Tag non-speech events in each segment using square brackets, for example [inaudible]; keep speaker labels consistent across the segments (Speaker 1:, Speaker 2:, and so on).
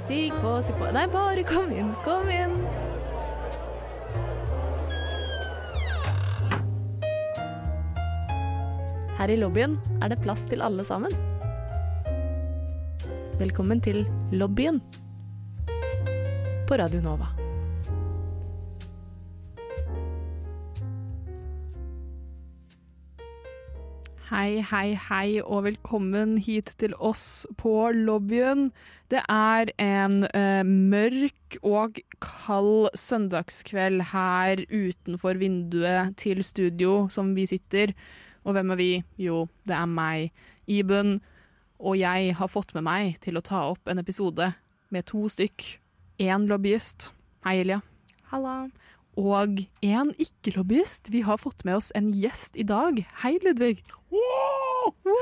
Speaker 1: Stig på, stig på Nei, bare kom inn, kom inn. Her i lobbyen er det plass til alle sammen. Velkommen til lobbyen på Radio Nova.
Speaker 2: Hei, hei, hei, og velkommen hit til oss på lobbyen. Det er en eh, mørk og kald søndagskveld her utenfor vinduet til studio som vi sitter. Og hvem er vi? Jo, det er meg, Iben. Og jeg har fått med meg til å ta opp en episode med to stykk. Én lobbyist. Hei, Elia.
Speaker 1: Halla.
Speaker 2: Og en ikke-lobbyist. Vi har fått med oss en gjest i dag. Hei, Ludvig.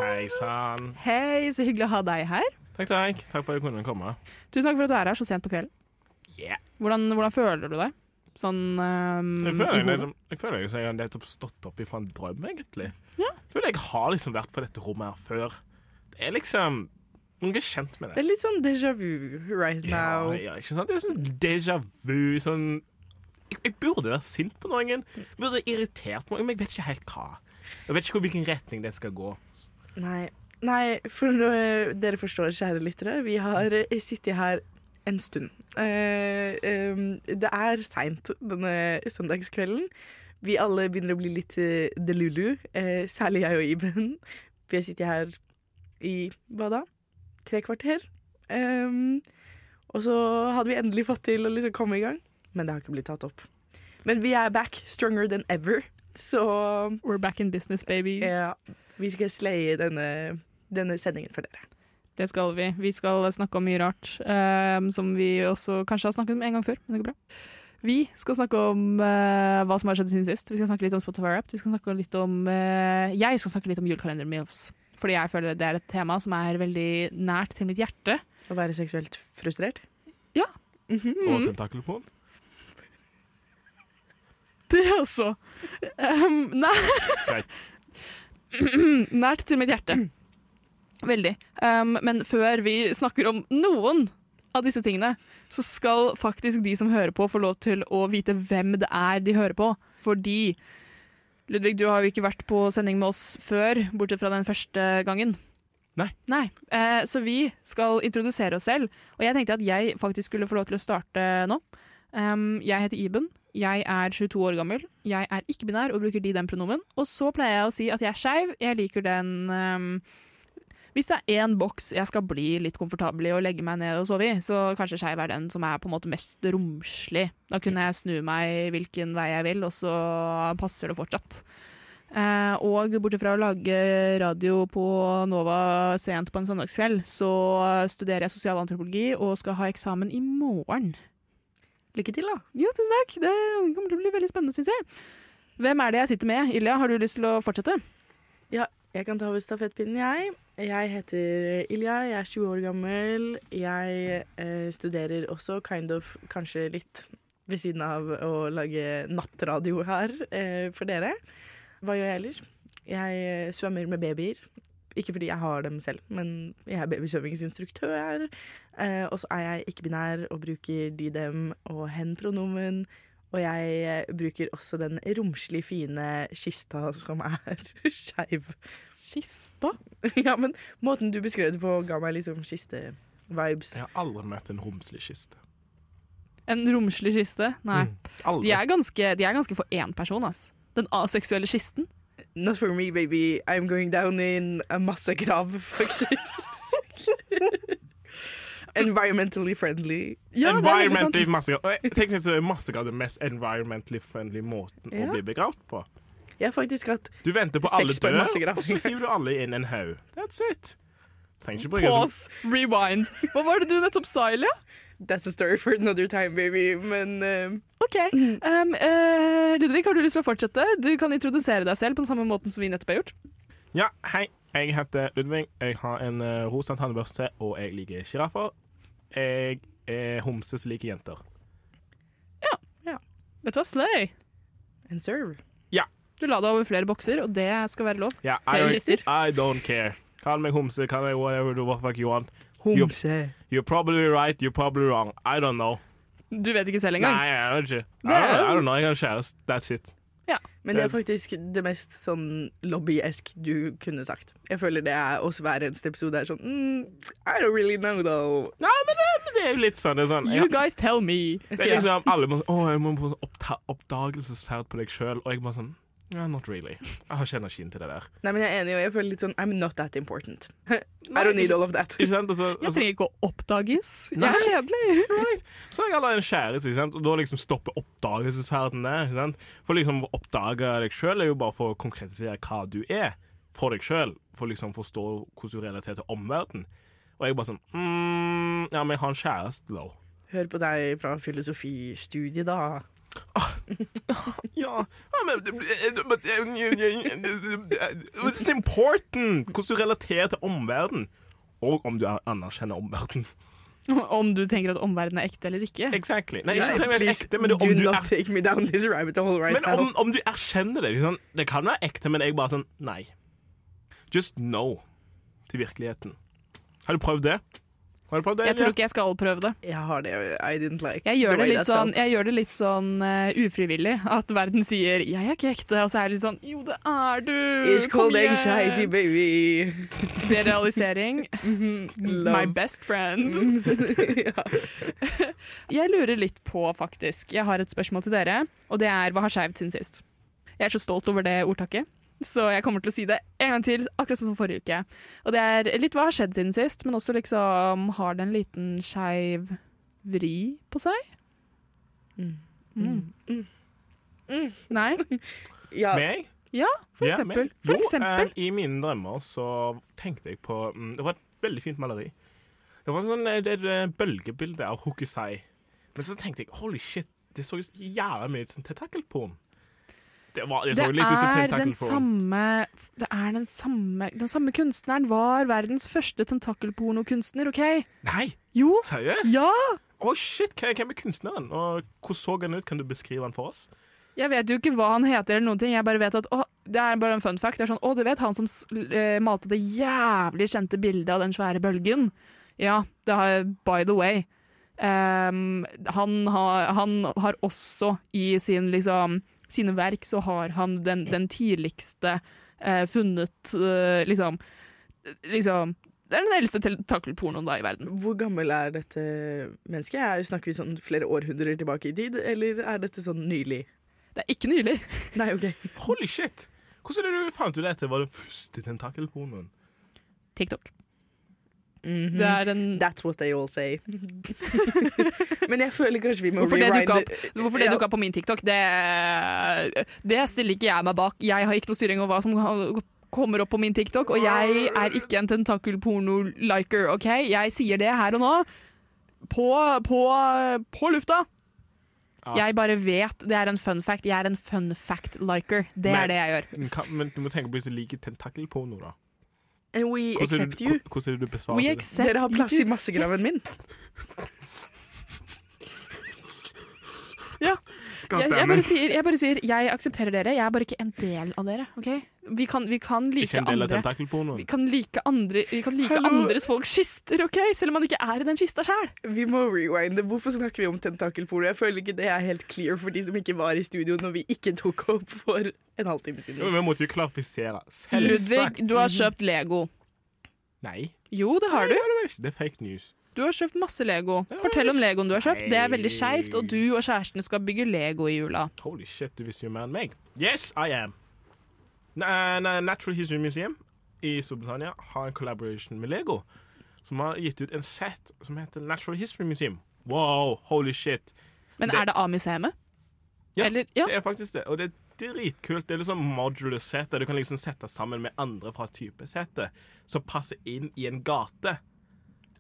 Speaker 3: Hei sann.
Speaker 2: Hei, så hyggelig å ha deg her.
Speaker 3: Takk, takk. Takk for at jeg kunne komme.
Speaker 2: Tusen takk for at du er her så sent på kvelden.
Speaker 3: Yeah.
Speaker 2: Hvordan, hvordan føler du deg? Sånn ehm,
Speaker 3: Jeg
Speaker 2: i
Speaker 3: føler
Speaker 2: hodet?
Speaker 3: jeg, jeg føler jeg, jeg har nettopp stått opp ifra en drøm, egentlig. Jeg føler jeg har liksom vært på dette rommet her før. Det er liksom noe kjent med
Speaker 4: Det
Speaker 3: det.
Speaker 4: er litt sånn déjà vu right
Speaker 3: Ja,
Speaker 4: now.
Speaker 3: ja, ikke sant? Det er sånn déjà vu. Sånn jeg, jeg burde være sint på noen. Jeg burde være irritert på noen, men jeg vet ikke helt hva. Jeg vet ikke hvor- hvilken retning det skal gå.
Speaker 4: Nei. Nei, for nå- eh, dere forstår, kjære lyttere, vi har eh, sittet her en stund. Eh, em, det er seint denne søndagskvelden. Vi alle begynner å bli litt eh, delulu, eh, særlig jeg og Iben. Vi har sittet her i hva da? Tre kvarter. Em, og så hadde vi endelig fått til å liksom komme i gang, men det har ikke blitt tatt opp. Men vi er back, stronger than ever. Så
Speaker 2: We're back in business, baby.
Speaker 4: ja, Eh, vi skal slaye denne, denne sendingen for dere.
Speaker 2: Det skal vi. Vi skal snakke om mye rart, ehm, som vi også kanskje har snakket om en gang før, men det går bra. Vi skal snakke om eh, hva som har skjedd siden sist. Vi skal snakke litt om Spotify Wrapped. Vi skal snakke litt om eh, Jeg skal snakke litt om julekalenderen min. Fordi jeg føler det er et tema som er veldig nært til mitt hjerte.
Speaker 4: Å være seksuelt frustrert?
Speaker 2: Ja.
Speaker 4: Mhm.
Speaker 2: Mm.
Speaker 3: Og tentakelporn.
Speaker 2: Det altså. også. Um,
Speaker 3: Greit.
Speaker 2: [clears throat] Nært til mitt hjerte. Veldig. Um, men før vi snakker om noen av disse tingene, så skal faktisk de som hører på, få lov til å vite hvem det er de hører på. Fordi Ludvig, du har jo ikke vært på sending med oss før, bortsett fra den første gangen.
Speaker 3: Nei.
Speaker 2: Nei. Eh, så vi skal introdusere oss selv. Og jeg tenkte at jeg faktisk skulle få lov til å starte nå. Um, jeg heter Iben. Jeg er 22 år gammel, jeg er ikke-binær og bruker de den pronomen. Og så pleier jeg å si at jeg er skeiv, jeg liker den ehm, Hvis det er én boks jeg skal bli litt komfortabel i og legge meg ned og sove i, så kanskje skeiv er den som er på en måte mest romslig. Da kunne jeg snu meg hvilken vei jeg vil, og så passer det fortsatt. Eh, og bortsett fra å lage radio på Nova sent på en søndagskveld, så studerer jeg sosialantropologi og skal ha eksamen i morgen.
Speaker 4: Lykke til, da.
Speaker 2: Jo, tusen takk. Det kommer til å bli veldig spennende, syns jeg. Hvem er det jeg sitter med? Ilja, har du lyst til å fortsette?
Speaker 4: Jeg kan ta over stafettpinnen, jeg. Jeg heter Ilja, jeg er 20 år gammel. Jeg eh, studerer også kind of, kanskje litt ved siden av å lage nattradio her eh, for dere. Hva gjør jeg ellers? Jeg eh, svømmer med babyer. Ikke fordi jeg har dem selv, men jeg er babysvømmingsinstruktør. Eh, og så er jeg ikke-binær og bruker de, dem og hen-pronomen. Og jeg eh, bruker også den romslig fine kista som er [laughs] skeiv.
Speaker 2: Kista?
Speaker 4: Ja, men måten du beskrev det på ga meg liksom kiste-vibes.
Speaker 3: Jeg har aldri møtt en romslig kiste.
Speaker 2: En romslig kiste? Nei.
Speaker 3: Mm. Aldri.
Speaker 2: De, er ganske, de er ganske for én person, ass. Den aseksuelle kisten.
Speaker 4: Not for me, baby. I'm going down in a masse grav, faktisk. Environmentally friendly.
Speaker 3: environmentally massegrav. Og jeg tenker så er massegrav den mest environmentally friendly måten
Speaker 4: Ja.
Speaker 3: å bli begravd på.
Speaker 4: Jeg har faktisk hatt
Speaker 3: Du venter på
Speaker 4: Sex
Speaker 3: alle
Speaker 4: på en
Speaker 3: dør,
Speaker 4: massegrav.
Speaker 3: og så hiver du alle inn en haug. That's it. Trenger ikke bruke sånn
Speaker 2: Pause, rewind. Hva var det du nettopp sa, Ilja?
Speaker 4: That's a story for another time, baby. Men eh,
Speaker 2: OK. Um, eh, Ludvig, har du lyst til å fortsette? Du kan introdusere deg selv på den samme måten som vi nettopp har gjort.
Speaker 3: Ja, hei. Jeg heter Ludvig. Jeg har en eh, rosa tannbørste, og jeg liker sjiraffer. Jeg er homse som liker jenter.
Speaker 2: Vet du hva, sløy.
Speaker 4: And serve.
Speaker 2: Du la deg over flere bokser, og det skal være lov.
Speaker 3: Ja,
Speaker 2: Flere
Speaker 3: I,
Speaker 2: kister.
Speaker 3: don't, I don't care. Kall meg homse, kall meg whatever the fuck you want.
Speaker 4: Homse.
Speaker 3: You're probably right, you're probably wrong. I don't know.
Speaker 2: Du vet ikke selv engang.
Speaker 3: Nei, jeg vet ikke. I
Speaker 2: Det er
Speaker 3: don't,
Speaker 2: jo-
Speaker 3: I don't know. Jeg har kjæreste. That's it.
Speaker 4: Men det er faktisk det mest sånn lobbyesk du kunne sagt. Jeg føler det er oss hver eneste episode er sånn mm, I don't really know, though.
Speaker 3: Nei, men det, men det er jo litt sånn. Det er sånn
Speaker 2: You
Speaker 3: jeg,
Speaker 2: guys tell me.
Speaker 3: det er liksom, alle må sånn Å, jeg må på sånn oppta- oppdagelsesferd på deg sjøl. Og jeg bare sånn yeah, Not really. Jeg har ikke energien til det der.
Speaker 4: Nei, men jeg er enig, og jeg føler litt sånn I'm not that important. [laughs] I don't need all of that.
Speaker 3: Ikke sant? Og så, og
Speaker 2: Jeg
Speaker 3: så,
Speaker 2: trenger ikke å oppdages. Jeg
Speaker 3: Nei.
Speaker 2: er kjedelig. [laughs]
Speaker 3: så har jeg allerede en kjæreste, ikke sant? og da liksom stopper oppdagelsesferden der. Ikke sant? For liksom å oppdage deg sjøl er jo bare for å konkretisere hva du er for deg sjøl. For liksom forstå hvordan du relaterer til omverdenen. Og jeg bare sånn mm, Ja, men jeg har en kjæreste, da.
Speaker 4: Hør på deg fra filosofistudiet, da.
Speaker 3: Ja, ja, men but, It's important hvordan du relaterer til omverdenen. Og om du anerkjenner omverdenen.
Speaker 2: Om du tenker at omverdenen er ekte eller ikke.
Speaker 3: Exactly. Nei, ikke trenger å være
Speaker 4: Please,
Speaker 3: ekte, men, det,
Speaker 4: do
Speaker 3: om, du
Speaker 4: not
Speaker 3: er,
Speaker 4: take me down this rabbit hole right
Speaker 3: men om,
Speaker 4: now.
Speaker 3: om du erkjenner det. ikke sant? Det kan være ekte, men jeg bare sånn Nei. Just no til virkeligheten. Har du prøvd det? Har du prøvd det?
Speaker 2: Jeg tror ikke jeg skal prøve det.
Speaker 4: Jeg har det. I didn't like
Speaker 2: Jeg gjør,
Speaker 4: the
Speaker 2: det
Speaker 4: way
Speaker 2: litt
Speaker 4: that
Speaker 2: sånn,
Speaker 4: felt.
Speaker 2: jeg gjør det litt sånn eh, ufrivillig. At verden sier 'jeg er ikke ekte', og så er det litt sånn 'jo, det er du'.
Speaker 4: It's
Speaker 2: Kom
Speaker 4: called
Speaker 2: igjen!»
Speaker 4: anxiety,
Speaker 2: [laughs]
Speaker 4: baby.
Speaker 2: Det er realisering. Mhm. My
Speaker 4: Love.
Speaker 2: best friend. Jeg lurer litt på, faktisk. Jeg har et spørsmål til dere, og det er hva har skeivt siden sist? Jeg er så stolt over det ordtaket, så jeg kommer til å si det en gang til, akkurat sånn som forrige uke. Og det er litt hva har skjedd siden sist, men også liksom har det en liten skeiv vri på seg?
Speaker 4: Mm.
Speaker 2: Mm. [laughs] Nei?
Speaker 4: Ja,
Speaker 3: Meg?
Speaker 2: Ja, for
Speaker 3: Ja,
Speaker 2: eksempel.
Speaker 3: meg.
Speaker 2: For
Speaker 3: Jo,
Speaker 2: eksempel.
Speaker 3: eh, I mine drømmer så tenkte jeg på mm, Det var et veldig fint maleri. Det var en sånn, eh, det, det bølgebilde av Hokusai. Men så tenkte jeg holy shit, det så jævla mye ut som tentakelporn. Det, var, det, så
Speaker 2: Det
Speaker 3: litt ut som
Speaker 2: er den
Speaker 3: tentakelporn.
Speaker 2: samme Det er den samme Den samme kunstneren var verdens første tentakelpornokunstner, OK?
Speaker 3: Nei,
Speaker 2: Jo.
Speaker 3: seriøst?
Speaker 2: Ja!
Speaker 3: Å shit, hva- Hvem er kunstneren? Og hvordan så han ut? Kan du beskrive han for oss?
Speaker 2: Jeg vet jo ikke hva han heter, eller noen ting. Jeg bare vet at, å, det er bare en fun fact. Det er sånn, å, du vet han som s- eh, malte det jævlig kjente bildet av den svære bølgen? Ja, det har, by the way. Ehm, han, har, han har også i sin, liksom, sine verk så har han den, den tidligste eh, funnet eh, liksom, liksom Det er den eldste tentakelpornoen da i verden.
Speaker 4: Hvor gammel er dette mennesket? Er, snakker vi sånn flere århundrer tilbake i tid, eller er dette sånn nylig?
Speaker 2: Det er ikke nylig.
Speaker 4: Nei, OK.
Speaker 3: Holy shit! Hvordan er det du fant ut at det var den første tentakelpornoen?
Speaker 2: TikTok.
Speaker 4: Mhm.
Speaker 2: Det er en
Speaker 4: That's what they all
Speaker 2: [laughs]
Speaker 4: say. Men jeg føler kanskje vi må
Speaker 2: Hvorfor det
Speaker 4: rewind
Speaker 2: dukka
Speaker 4: it.
Speaker 2: opp, hvorfor det
Speaker 4: Ja.
Speaker 2: dukket opp på min TikTok, det, det stiller ikke jeg meg bak. Jeg har ikke noe styring over hva som kommer opp på min TikTok, og jeg er ikke en tentakelporno-liker, OK? Jeg sier det her og nå. På, på, på lufta.
Speaker 3: Ja.
Speaker 2: Jeg bare vet det er en fun fact. Jeg er en fun fact-liker. Det
Speaker 3: Men-
Speaker 2: er det jeg gjør.
Speaker 3: Men, hva- men du må tenke på hvis du liker tentakelporno, da.
Speaker 4: And we
Speaker 3: Hvordan er
Speaker 4: accept
Speaker 3: det-
Speaker 4: you.
Speaker 3: Hvordan er det du besvarer
Speaker 2: We
Speaker 3: det?
Speaker 2: accept
Speaker 4: Dere har plass i
Speaker 2: you.
Speaker 4: massegraven min.
Speaker 2: Jeg, jeg, bare sier, jeg bare sier jeg aksepterer dere, jeg er bare ikke en del av dere. ok? Vi kan, vi kan like
Speaker 3: Ikke en del av
Speaker 2: andre. Vi
Speaker 3: tentakelpornoen.
Speaker 2: kan like, andre, vi kan like
Speaker 4: Hallo.
Speaker 2: andres folks kister, ok? Selv om man ikke er i den kista sjæl.
Speaker 4: Vi må rewinde. Hvorfor snakker vi om tentakelporno? Jeg føler ikke det er helt clear for de som ikke var i studio når vi ikke tok opp for en halvtime
Speaker 3: Jo,
Speaker 4: siden.
Speaker 3: Vi måtte jo klarifisere. Selvsagt.
Speaker 2: Ludvig, du har kjøpt Lego.
Speaker 3: Nei.
Speaker 2: Jo, det har du.
Speaker 3: Det er fake news.
Speaker 2: Du har kjøpt masse Lego.
Speaker 3: Det var
Speaker 2: Fortell om
Speaker 3: veldig
Speaker 2: Legoen du har kjøpt. Det er veldig
Speaker 3: Nei.
Speaker 2: skeivt, og du og kjæresten skal bygge Lego i jula.
Speaker 3: Holy shit, du visste jo mer enn meg. Yes, I am. Na- na- Natural History Museum i Storbritannia har en collaboration med Lego, som har gitt ut en set som heter Natural History Museum. Wow, holy shit.
Speaker 2: Men
Speaker 3: Det-
Speaker 2: er det A-museet?
Speaker 3: Ja,
Speaker 2: Eller, ja.
Speaker 3: Det er faktisk det, og det er dritkult. Det er liksom modular set, der du kan liksom sette sammen med andre fra typesettet, som passer inn i en gate.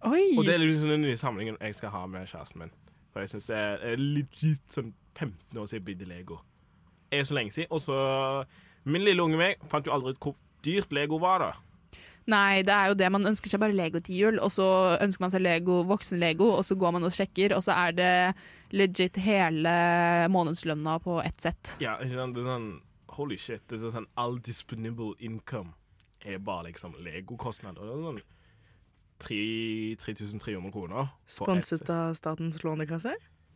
Speaker 3: Og
Speaker 2: Oi.
Speaker 3: det er liksom den nye samlingen jeg skal ha med kjæresten min. For jeg syns det er legit sånn 15 år siden jeg bygde Lego. Det er så lenge siden. Og så Min lille unge meg fant jo aldri ut hvor dyrt Lego var, da.
Speaker 2: Nei, det er jo det. Man ønsker seg bare Lego til jul, og så ønsker man seg Lego, voksen-Lego, og så går man og sjekker, og så er det legit hele månedslønna på ett sett.
Speaker 3: Ja, ikke sant? Det er sånn Holy shit. Det er sånn All disponable income er bare liksom Lego-kostnader. Og det er sånn tre- 3300 kroner. på ett-
Speaker 4: Sponset av Statens lånekasse?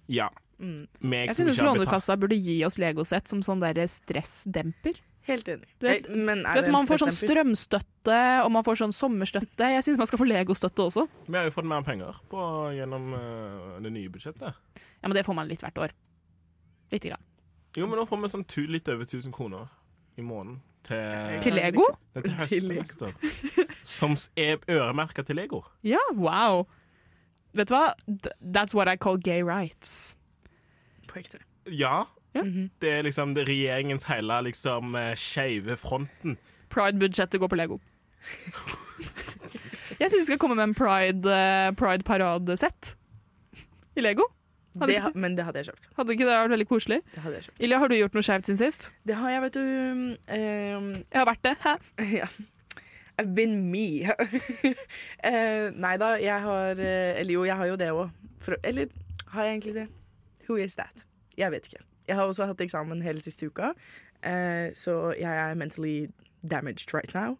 Speaker 3: Ja.
Speaker 4: Mm.
Speaker 3: Meg
Speaker 2: Jeg
Speaker 3: som
Speaker 2: synes
Speaker 3: ikke har betalt.
Speaker 2: Lånekassa burde gi oss legosett som sånn der stressdemper.
Speaker 4: Helt enig.
Speaker 2: Du vet-
Speaker 4: Eh, men
Speaker 2: Du
Speaker 4: er
Speaker 2: vet,
Speaker 4: det en
Speaker 2: man får sånn
Speaker 4: stressdemper?
Speaker 2: strømstøtte, og man får sånn sommerstøtte. Jeg syns man skal få legostøtte også.
Speaker 3: Vi har jo fått mer penger på, gjennom eh, det nye budsjettet.
Speaker 2: Ja, Men det får man litt hvert år. Lite grann.
Speaker 3: Jo, men nå får vi sånn tu, litt over 1000 kroner i måneden til,
Speaker 2: Til Lego?
Speaker 3: Nei, til
Speaker 4: Til Lego.
Speaker 3: høstsemester. Som s- er øremerka til Lego.
Speaker 2: sånn. Ja, wow. Vet du hva? Th- That's what I call gay rights.
Speaker 4: På ekte.
Speaker 3: Ja.
Speaker 2: Ja.
Speaker 4: Mhm.
Speaker 3: Det er liksom det regjeringens hele liksom, eh, skeive fronten.
Speaker 2: Pride-budsjettet går på [laughs] Lego. Jeg syns vi skal komme med en pride, eh, pride-paradesett i Lego. Hadde
Speaker 4: Det
Speaker 2: ikke
Speaker 4: ha, men det hadde jeg kjøpt.
Speaker 2: Hadde ikke det vært veldig koselig?
Speaker 4: Det hadde jeg kjøpt.
Speaker 2: Ilja, har du gjort noe skjevt siden sist?
Speaker 4: Det har jeg, vet du. ehm,
Speaker 2: Jeg har vært det. Hæ?
Speaker 4: [laughs] Ja. I've been me. [laughs] Eh, nei da, jeg har eh, Eller jo, jeg har jo det òg. Eller har jeg egentlig det? Who is that? Jeg vet ikke. Jeg har også hatt eksamen hele siste uka, eh, så jeg er mentally damaged right now.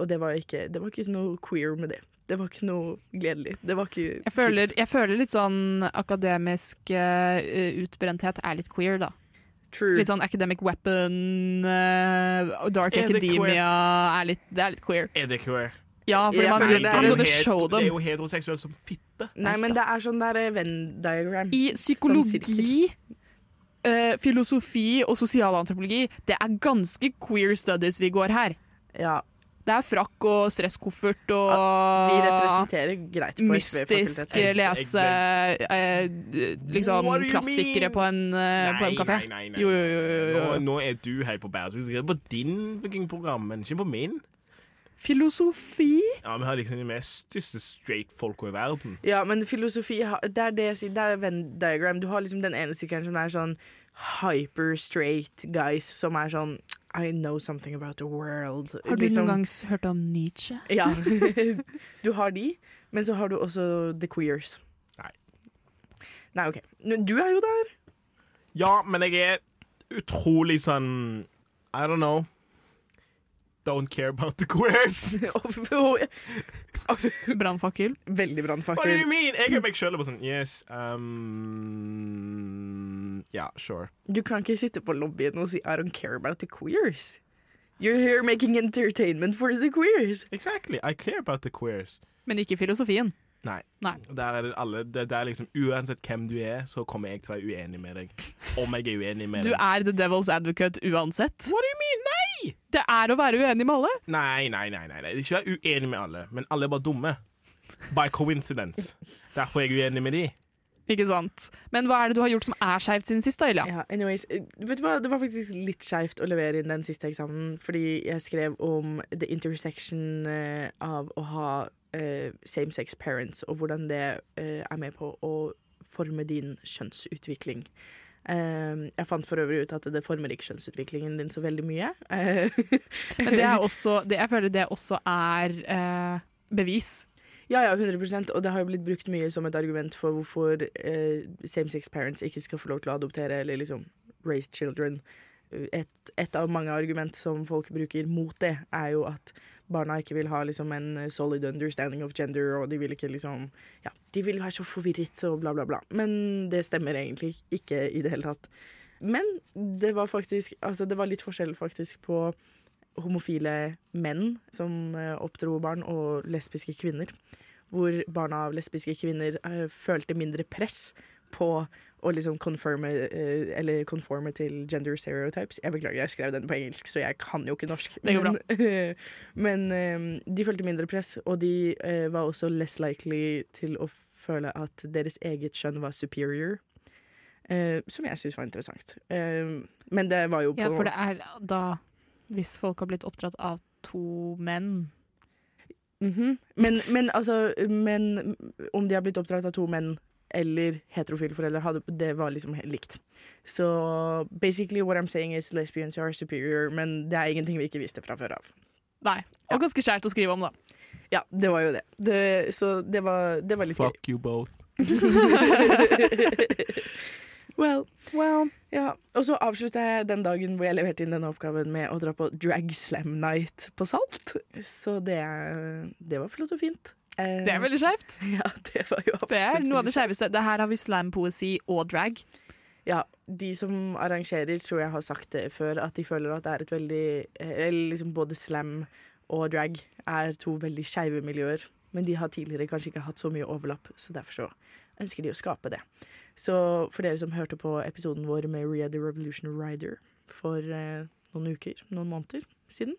Speaker 4: Og det var ikke, det var ikke noe queer med det. Det var ikke noe gledelig. Det var ikke
Speaker 2: Jeg føler, jeg føler litt sånn akademisk eh, utbrenthet er litt queer, da.
Speaker 4: True.
Speaker 2: Litt sånn academic weapon, eh, og dark
Speaker 3: Er det queer?
Speaker 2: academia er litt, Det er litt queer.
Speaker 3: Er det queer?
Speaker 2: Ja, for
Speaker 4: Jeg
Speaker 2: man,
Speaker 4: føler
Speaker 2: sier,
Speaker 4: det er
Speaker 2: I'm
Speaker 4: en
Speaker 2: gonna
Speaker 3: het-
Speaker 2: show
Speaker 3: det er
Speaker 2: them.
Speaker 3: jo heteroseksuelt som fitte.
Speaker 4: Nei, men det er sånn der eh, Sånn Venn diagram.
Speaker 2: I psykologi,
Speaker 4: sirkel.
Speaker 2: eh, filosofi og sosialantropologi, det er ganske queer studies vi går her.
Speaker 4: Ja,
Speaker 2: Det er frakk og stresskoffert og
Speaker 4: vi representerer greit på
Speaker 2: mystisk
Speaker 4: SV-fakultetet.
Speaker 2: lese eh, liksom
Speaker 3: What do you
Speaker 2: klassikere
Speaker 3: mean?
Speaker 2: på en, eh, på en kafé.
Speaker 3: Nei, nei, nei.
Speaker 2: Jo, jo, jo, jo, jo.
Speaker 3: Nå, nå er du helt på bæret. Du skriver på din fucking program, men ikke på min.
Speaker 2: Filosofi?
Speaker 3: Ja, Vi har liksom de mest største straight folka i verden.
Speaker 4: Ja, men filosofi ha- Det er det jeg sier. Det er Venn diagram. Du har liksom den ene sirkelen som er sånn hyper straight guys som er sånn I know something about the world.
Speaker 2: Har du
Speaker 4: liksom.
Speaker 2: noen gang s- hørt om Nietzsche?
Speaker 4: Ja.
Speaker 2: [laughs]
Speaker 4: du har de, men så har du også the queers.
Speaker 3: Nei.
Speaker 4: Nei, OK. Men Du er jo der.
Speaker 3: Ja, men jeg er utrolig sånn I don't know. Don't care about the queers.
Speaker 2: [laughs] Brannfakkel.
Speaker 4: [laughs] Veldig
Speaker 3: What do you
Speaker 4: brannfakkel.
Speaker 3: mean? Jeg er meg sjøl. Sånn, yes, um, yeah, sure.
Speaker 4: Du kan ikke sitte på lobbyen og si I don't care about the queers. You're here making entertainment for the queers.
Speaker 3: Exactly. I care about the queers.
Speaker 2: Men ikke filosofien.
Speaker 3: Nei.
Speaker 2: Nei.
Speaker 3: Der er det alle, det, det er liksom, uansett hvem du er, så kommer jeg til å være uenig med deg. Om jeg er uenig med
Speaker 2: Du
Speaker 3: deg.
Speaker 2: er the devil's advocate uansett.
Speaker 3: What do you mean? Nei!
Speaker 2: Det er å være uenig med alle.
Speaker 3: Nei, nei, nei. nei, nei. Ikke være uenig med alle, men alle er bare dumme. By coincidence. Derfor er jeg uenig med de.
Speaker 2: Ikke sant? Men hva er det du har gjort som er skeivt siden sist, da, Ilja?
Speaker 4: Ja, anyways, eh, vet du hva? Det var faktisk litt skeivt å levere inn den siste eksamen, fordi jeg skrev om the intersection eh, av å ha eh, same-sex parents, og hvordan det eh, er med på å forme din kjønnsutvikling. Eh, jeg fant for øvrig ut at det former ikke kjønnsutviklingen din så veldig mye. Eh, [laughs]
Speaker 2: Men det er også det, Jeg føler det også er eh, bevis.
Speaker 4: ja, ja, 100 og det har jo blitt brukt mye som et argument for hvorfor eh, same-sex parents ikke skal få lov til å adoptere eller liksom raise children. Et, et av mange argument som folk bruker mot det, er jo at barna ikke vil ha liksom en solid understanding of gender, og de vil ikke liksom Ja, de vil være så forvirret og bla, bla, bla. Men det stemmer egentlig ikke i det hele tatt. Men det var faktisk Altså, det var litt forskjell faktisk på homofile menn som eh, oppdro barn, og lesbiske kvinner. Hvor barna av lesbiske kvinner eh, følte mindre press på å liksom conforme, eh, eller conforme til gender stereotypes. Jeg beklager, jeg skrev den på engelsk, så jeg kan jo ikke norsk.
Speaker 2: Det går bra.
Speaker 4: Men, [laughs] men eh, de følte mindre press, og de eh, var også less likely til å føle at deres eget kjønn var superior. Eh, som jeg syns var interessant. Eh, men det var jo på
Speaker 2: Ja, for det er da Hvis folk har blitt oppdratt av to menn
Speaker 4: Mhm. men, men altså men, Om de har blitt oppdratt av to menn eller heterofile foreldre, hadde, det var liksom helt likt. Så basically what I'm saying is lesbians are superior, men det er ingenting vi ikke visste fra før av.
Speaker 2: Nei. Og ganske skjevt å skrive om, [laughs] da.
Speaker 4: Ja, det var jo det. det så det var, det var litt
Speaker 3: Fuck you both.
Speaker 4: gøy. [laughs] well,
Speaker 2: Well,
Speaker 4: ja. Og så avslutta jeg den dagen hvor jeg leverte inn denne oppgaven med å dra på drag slam night på Salt. Så det, det var flott og fint. Eh,
Speaker 2: Det er veldig skjevt.
Speaker 4: [laughs] Ja, det var jo absolutt
Speaker 2: Det er noe av det
Speaker 4: veldig
Speaker 2: skjeveste. Det her har vi slampoesi og drag.
Speaker 4: skjevt. Ja, de som arrangerer, tror jeg har sagt det før, at de føler at det er et veldig eh, Eller liksom både slam og drag er to veldig skeive miljøer. Men de har tidligere kanskje ikke hatt så mye overlapp, så derfor så ønsker de å skape det. Så for dere som hørte på episoden vår med Ria the Revolution Rider for eh, noen uker, noen måneder siden,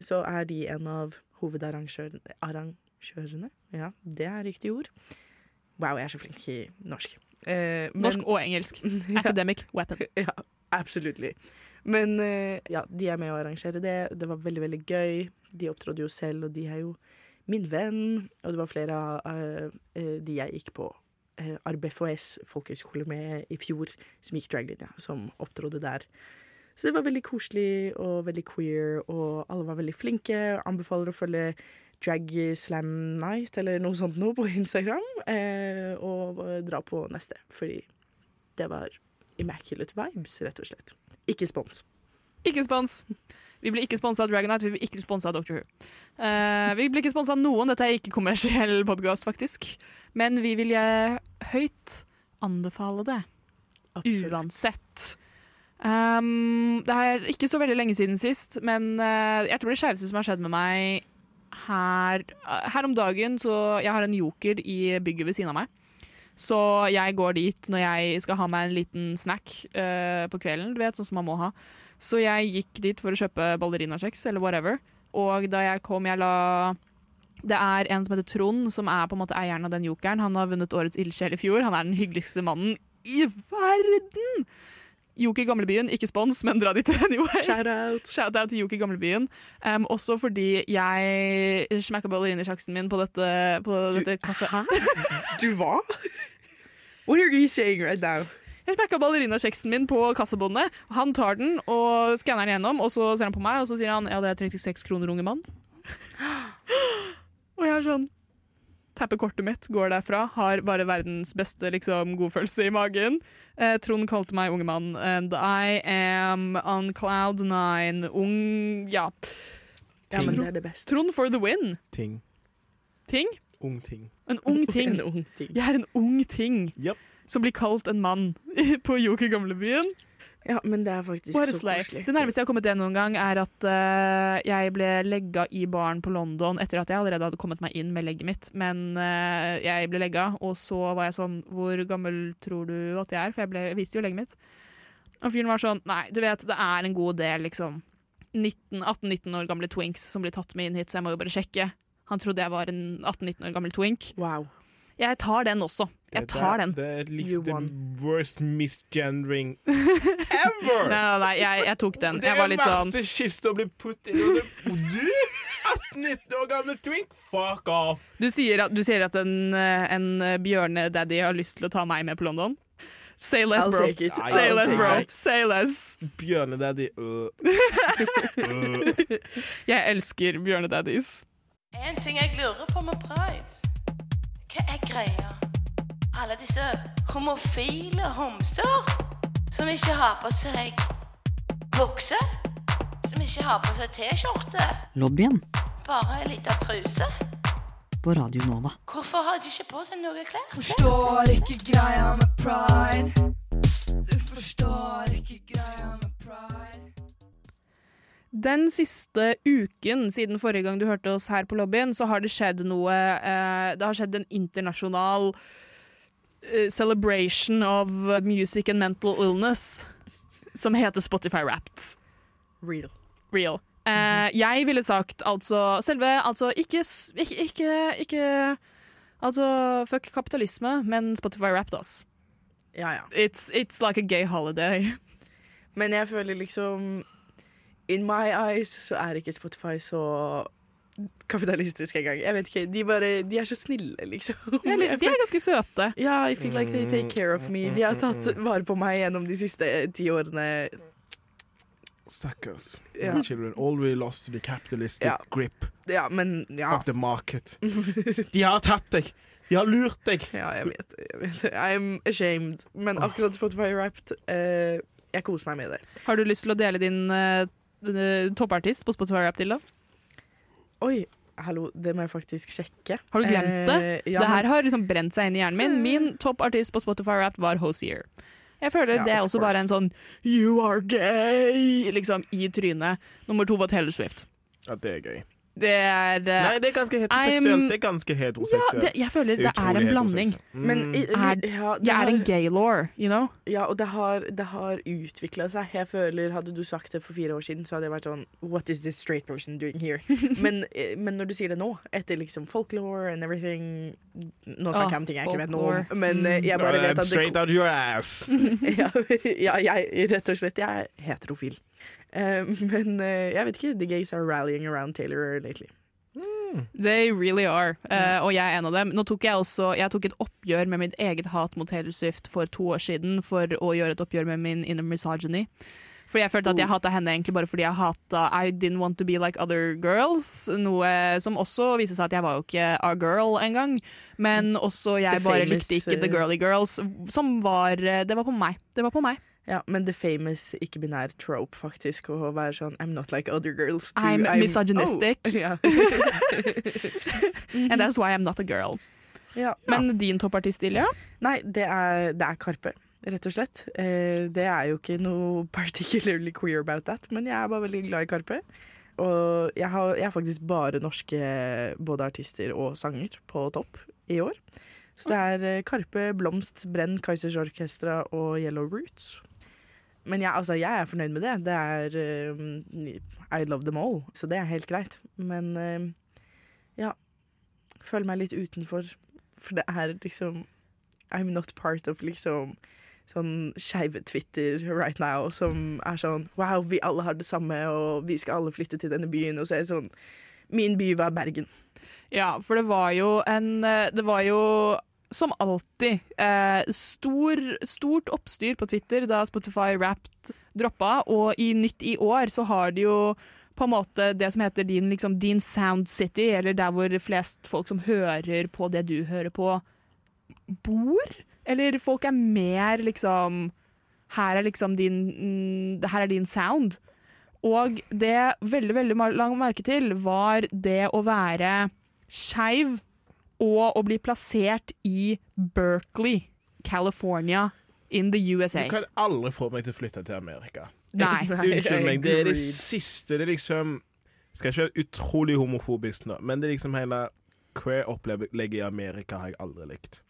Speaker 4: så er de en av hovedarrangørene arrangørene? Ja, det er riktig ord. Wow, jeg er så flink i norsk. Eh, men- [laughs]
Speaker 2: [laughs] Norsk og engelsk. Academic weapon.
Speaker 4: ja, absolutely. Men eh, ja, de er med å arrangere det. Det var veldig, veldig gøy. De opptrådde jo selv, og de er jo min venn. Og det var flere av eh, de jeg gikk på uh, RBFOS folkehøgskole med i fjor, som gikk draglinja, som opptrådde der. Så det var veldig koselig og veldig queer, og alle var veldig flinke. Anbefaler å følge Drag Slam Night eller noe sånt nå på Instagram, eh, og eh, dra på neste, fordi det var Immaculate Vibes, rett og slett. Ikke spons.
Speaker 2: Ikke spons. Vi blir ikke sponsa av Dragonite, vi blir ikke sponsa av Doctor Who. Eh, vi blir ikke sponsa av noen, dette er ikke kommersiell podkast, faktisk. Men vi vil eh, høyt anbefale det, uansett. Ehm, det er ikke så veldig lenge siden sist, men eh, jeg tror det skjeveste som har skjedd med meg her, eh, her om dagen Så jeg har en joker i bygget ved siden av meg. Så jeg går dit når jeg skal ha meg en liten snack eh, på kvelden, du vet, sånn som man må ha. Så jeg gikk dit for å kjøpe ballerinakjeks eller whatever. Og da jeg kom, jeg la Det er en som heter Trond, som er på en måte eieren av den jokeren. Han har vunnet Årets ildsjel i fjor. Han er den hyggeligste mannen i verden! Joker Gamlebyen, ikke spons, men dra dit [laughs] anyway.
Speaker 4: Shout out!
Speaker 2: Shout-out til Joker Gamlebyen. Um, også fordi jeg smakka ballerinasjaksen min på dette, på dette kassa.
Speaker 4: Hæ? [laughs] Du hva? What are you saying right now?
Speaker 2: Jeg smakka ballerinasjaksen min på kassabåndet. Han tar den og skanner den gjennom, og så ser han på meg, og så sier han ja, det er 36 kroner, unge mann. [gasps] og jeg er sånn Tapper kortet mitt, går derfra, har bare verdens beste liksom, godfølelse i magen. Eh, Trond kalte meg unge mann, and I am on cloud nine. Ung Ja.
Speaker 4: Ja, men det er det beste.
Speaker 2: Trond for the win.
Speaker 3: Ting.
Speaker 2: Ting.
Speaker 3: Ung ting.
Speaker 2: En ung ting.
Speaker 4: En [laughs] ung ting.
Speaker 2: Jeg er en ung ting
Speaker 3: Yep.
Speaker 2: som blir kalt en mann [laughs] på Joker Gamlebyen.
Speaker 4: Ja, men det er faktisk
Speaker 2: Bare
Speaker 4: så
Speaker 2: slay.
Speaker 4: koselig.
Speaker 2: Det nærmeste jeg har kommet det noen gang, er at eh, jeg ble legga i baren på London etter at jeg allerede hadde kommet meg inn med legget mitt. Men eh, jeg ble legga, og så var jeg sånn Hvor gammel tror du at jeg er? For jeg, ble, jeg viste jo legget mitt. Og fyren var sånn Nei, du vet, det er en god del, liksom. 19 18-19 år gamle twinks som blir tatt med inn hit, så jeg må jo bare sjekke. Han trodde jeg var en 18-19 år gammel twink.
Speaker 4: Wow.
Speaker 2: Jeg tar den også. Jeg tar den.
Speaker 3: Det er
Speaker 4: You
Speaker 3: liksom
Speaker 4: won.
Speaker 3: the worst misgendering
Speaker 2: [laughs]
Speaker 3: ever!
Speaker 2: Nei, nei, nei jeg, jeg tok den.
Speaker 3: Det
Speaker 2: Jeg
Speaker 3: er
Speaker 2: var litt sånn
Speaker 3: verste kiste å bli putt inn i. og så- Og Du, 18-19 år gamle twink, fuck off!
Speaker 2: Du sier at, du sier at en, eh, en bjørnedaddy har lyst til å ta meg med på London? Say less,
Speaker 4: I'll
Speaker 2: bro.
Speaker 4: take it.
Speaker 3: Nei,
Speaker 2: Say
Speaker 4: I'll
Speaker 2: less,
Speaker 4: take
Speaker 2: bro.
Speaker 3: Nei.
Speaker 4: it.
Speaker 2: Say less.
Speaker 3: Bjørnedaddy. øh. Øh.
Speaker 2: Jeg elsker bjørnedaddies.
Speaker 5: En ting jeg lurer på med pride. Hva er greia? Alle disse homofile homser som ikke har på seg bukse. Som ikke har på seg T-skjorte,
Speaker 6: Lobbyen
Speaker 5: bare ei lita truse.
Speaker 6: på Radio Nova.
Speaker 5: Hvorfor har de ikke på seg noe klær?
Speaker 7: Forstår ikke greia med pride. Du forstår ikke greia med pride.
Speaker 2: Den siste uken siden forrige gang du hørte oss her på lobbyen, så har det skjedd noe eh, Det har skjedd en internasjonal eh, celebration of music and mental illness som heter Spotify Wrapped.
Speaker 4: Real.
Speaker 2: real. Eh, Jeg ville sagt altså selve Altså ikke s- Ikke, ikke, ikke Altså fuck kapitalisme, men Spotify Wrapped, ass.
Speaker 4: Ja, ja.
Speaker 2: It's, it's like a gay holiday.
Speaker 4: Men jeg føler liksom In my eyes så er ikke Spotify så kapitalistisk engang. Jeg vet ikke. De bare De er så snille, liksom.
Speaker 2: De er, litt- de er ganske søte.
Speaker 4: Ja, I feel like they take care of me. De har tatt vare på meg gjennom de siste ti årene.
Speaker 3: Stakkars.
Speaker 4: Ja.
Speaker 3: My children already lost to the capitalistic
Speaker 4: Ja.
Speaker 3: grip
Speaker 4: Ja, men ja.
Speaker 2: Ah.
Speaker 3: of the market. De har tatt deg! De har lurt deg!
Speaker 4: [laughs] Ja, jeg vet, jeg vet. I'm ashamed. Men
Speaker 2: Ah.
Speaker 4: akkurat Spotify Wrapped eh, Jeg koser meg med det.
Speaker 2: Har du lyst til å dele din eh, din, eh, toppartist på Spotify Wrapped til, da?
Speaker 4: Oi, hallo, det må jeg faktisk sjekke.
Speaker 2: Har du glemt det?
Speaker 4: Eh, ja,
Speaker 2: det her har liksom brent seg inn i hjernen min. Min toppartist på Spotify Rap var Hosier. Jeg føler
Speaker 4: Ja,
Speaker 2: det er
Speaker 4: of
Speaker 2: også
Speaker 4: course.
Speaker 2: bare en sånn You are gay! Liksom i trynet. Nummer to var Taylor Swift.
Speaker 3: Ja, det er gøy.
Speaker 2: Det er eh,
Speaker 3: Nei, det er ganske heteroseksuelt.
Speaker 2: I'm-
Speaker 3: Det er ganske
Speaker 2: ja,
Speaker 3: heteroseksuelt.
Speaker 2: det, Jeg føler det er
Speaker 3: Utrolig
Speaker 2: en blanding.
Speaker 3: heteroseksuelt. Mm.
Speaker 4: men, i,
Speaker 2: Er-
Speaker 4: ja, det
Speaker 2: Jeg
Speaker 4: har-
Speaker 2: er en gay law, you know?
Speaker 4: Ja, og det har, det har utvikla seg. Jeg føler, Hadde du sagt det for fire år siden, så hadde jeg vært sånn What is this straight person doing
Speaker 2: [laughs]
Speaker 4: here? [laughs] men, eh, men når du sier det nå, etter liksom folklore and everything Nå
Speaker 2: Ah,
Speaker 4: snakker jeg om ting jeg ikke vet noe
Speaker 2: folklore. Mm.
Speaker 4: om, men eh, jeg bare vet at
Speaker 3: Straight
Speaker 4: det,
Speaker 3: out your ass.
Speaker 2: [laughs]
Speaker 4: ja, ja, jeg rett og slett Jeg er heterofil. Eh, men eh, jeg vet ikke. The gays are rallying around Taylor lately.
Speaker 3: Mm.
Speaker 2: They really are. Eh, og jeg er en av dem. Nå tok jeg også jeg tok et oppgjør med mitt eget hat mot Taylor Swift for to år siden for å gjøre et oppgjør med min inner misogyny. Fordi jeg følte at jeg
Speaker 4: Oh.
Speaker 2: hata henne egentlig bare fordi jeg hata I didn't want to be like other girls. Noe som også viste seg at jeg var jo ikke a girl engang. Men også jeg
Speaker 4: The
Speaker 2: bare
Speaker 4: famous,
Speaker 2: likte ikke the
Speaker 4: eh,
Speaker 2: girly girls. Som var eh, Det var på meg. Det var på meg.
Speaker 4: Ja, Men the famous ikke-binær trope, faktisk, å være sånn I'm not like other girls. to-
Speaker 2: I'm misogynistic.
Speaker 4: Oh, [laughs]
Speaker 2: [laughs]
Speaker 4: ja.
Speaker 2: And that's why I'm not a girl.
Speaker 4: Mhm. ja.
Speaker 2: Men din toppartist, Ilja?
Speaker 4: Nei, det er, det er Karpe, rett og slett. Eh, det er jo ikke noe particularly queer about that, men jeg er bare veldig glad i Karpe. Og jeg har, jeg har faktisk bare norske både artister og sanger på topp i år. Så det er eh, Karpe, Blomst, Brenn, Kaizers Orkestra og Yellow Roots. Men jeg, altså, jeg er fornøyd med det. Det er eh, I love them all, så det er helt greit. Men eh, ja Føler meg litt utenfor, for det er liksom I'm not part of liksom sånn skeive Twitter right now som er sånn Wow, vi alle har det samme, og vi skal alle flytte til denne byen. Og så er det sånn Min by var Bergen. [laughs]
Speaker 2: Ja, for det var jo en eh, Det var jo som alltid eh, stor, stort oppstyr på Twitter da Spotify Wrapped droppa, og i nytt i år så har de jo på en måte det som heter din, liksom, din sound city, eller der hvor flest folk som hører på det du hører på, bor. Eller folk er mer liksom Her er liksom din mm, Her er din sound. Og det veldig, veldig ma- lang merke til var det å være skeiv og å bli plassert i Berkeley, California, in the USA.
Speaker 3: Du kan aldri få meg til å flytte til Amerika.
Speaker 2: Nei.
Speaker 3: Unnskyld meg, det er det
Speaker 4: agreed.
Speaker 3: siste Det er liksom Skal ikke være utrolig homofobisk nå, men det er liksom hele queer opplegget i Amerika har jeg aldri likt.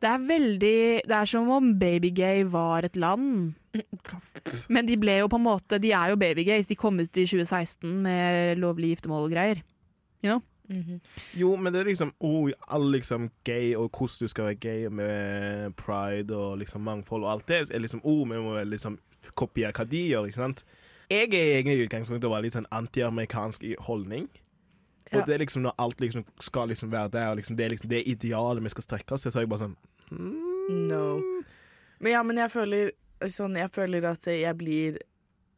Speaker 2: Det er veldig Det er som om babygay var et land. Men de ble jo på en måte De er jo babygays. De kom ut i 2016 med lovlig giftermål og greier.
Speaker 4: Mhm.
Speaker 3: Jo, men det er liksom oh, Alle liksom gay og hvordan du skal være gay med pride og liksom mangfold og alt det, er liksom oh, vi må liksom kopiere hva de gjør, ikke sant? Jeg er egentlig i utgangspunktet bare litt sånn antiamerikansk i holdning.
Speaker 4: Ja.
Speaker 3: Og det er liksom når alt liksom skal liksom være der, og liksom det er liksom det idealet vi skal strekke oss til, så er jeg bare sånn
Speaker 4: No. Men ja, men jeg føler sånn Jeg føler at jeg blir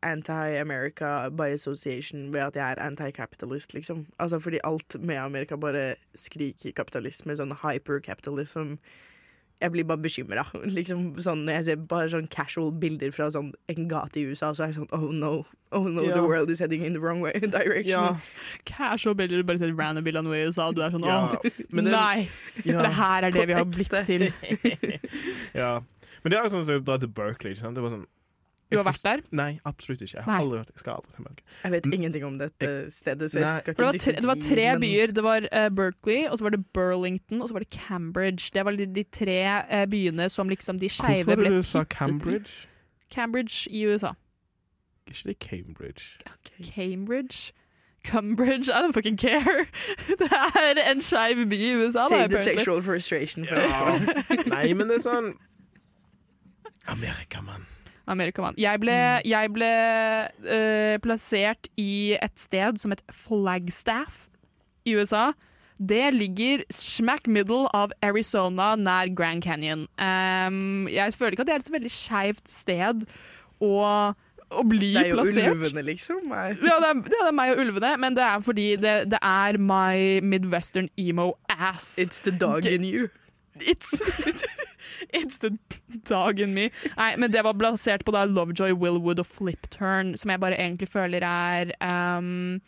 Speaker 4: anti-America by association ved at jeg er anti-capitalist, liksom. Altså fordi alt med Amerika bare skriker kapitalisme, sånn hyper-capitalism. Jeg blir bare bekymra. [laughs] Liksom, sånn, når jeg ser bare sånn casual bilder fra sånn, en gate i USA, så er jeg sånn Oh no, oh no,
Speaker 3: Ja.
Speaker 4: the world is heading in the wrong way [laughs] direction.
Speaker 2: Casual bilder, bare til random bilder av noe i USA, og du er sånn
Speaker 3: Ja, men det-
Speaker 2: Nei!
Speaker 3: ja.
Speaker 2: Det her er det vi har blitt til.
Speaker 3: Ja. Men det er jo sånn som å dra til Berkeley. Ikke sant? Det er bare sånn,
Speaker 2: Du har vært der?
Speaker 3: Nei, absolutt ikke. Jeg
Speaker 2: Nei.
Speaker 3: har aldri vært Jeg skal aldri til Amerika.
Speaker 4: Jeg vet ingenting om dette stedet, så jeg
Speaker 3: Nei.
Speaker 4: skal
Speaker 2: For
Speaker 4: ikke
Speaker 2: det, var tre, det var
Speaker 4: disse
Speaker 2: tre
Speaker 4: men-
Speaker 2: byer. Det var eh, Berkeley, og så var det Burlington, og så var det Cambridge. Det var de, de tre eh, byene som liksom de skeive
Speaker 3: Hvordan var
Speaker 2: ble
Speaker 3: det du sa
Speaker 2: puttet i.
Speaker 3: Cambridge?
Speaker 2: Cambridge i USA.
Speaker 3: Ikke det Cambridge?
Speaker 2: Cambridge Cumbridge, I don't fucking care. [laughs] Det er en skeiv by i USA, da,
Speaker 4: Save the
Speaker 2: apparently.
Speaker 4: sexual frustration for us.
Speaker 3: [laughs] Ja. Nei, men det er sånn Amerika, mann.
Speaker 2: America, man. Jeg ble,
Speaker 4: Mm.
Speaker 2: jeg ble eh, plassert i et sted som het Flagstaff i USA. Det ligger smack middle av Arizona, nær Grand Canyon. Em, jeg føler ikke at det er et så veldig skeivt sted å, å bli
Speaker 4: Det er jo
Speaker 2: plassert.
Speaker 4: ulvene, liksom. Nei.
Speaker 2: Ja, det er, det er meg og ulvene, men det er fordi det, det er my midwestern emo ass.
Speaker 4: It's the dog in you.
Speaker 2: It's, [laughs] it's the dog in me. Nei, men det var basert på da Lovejoy, Willwood og Flipturn, som jeg bare egentlig føler er um,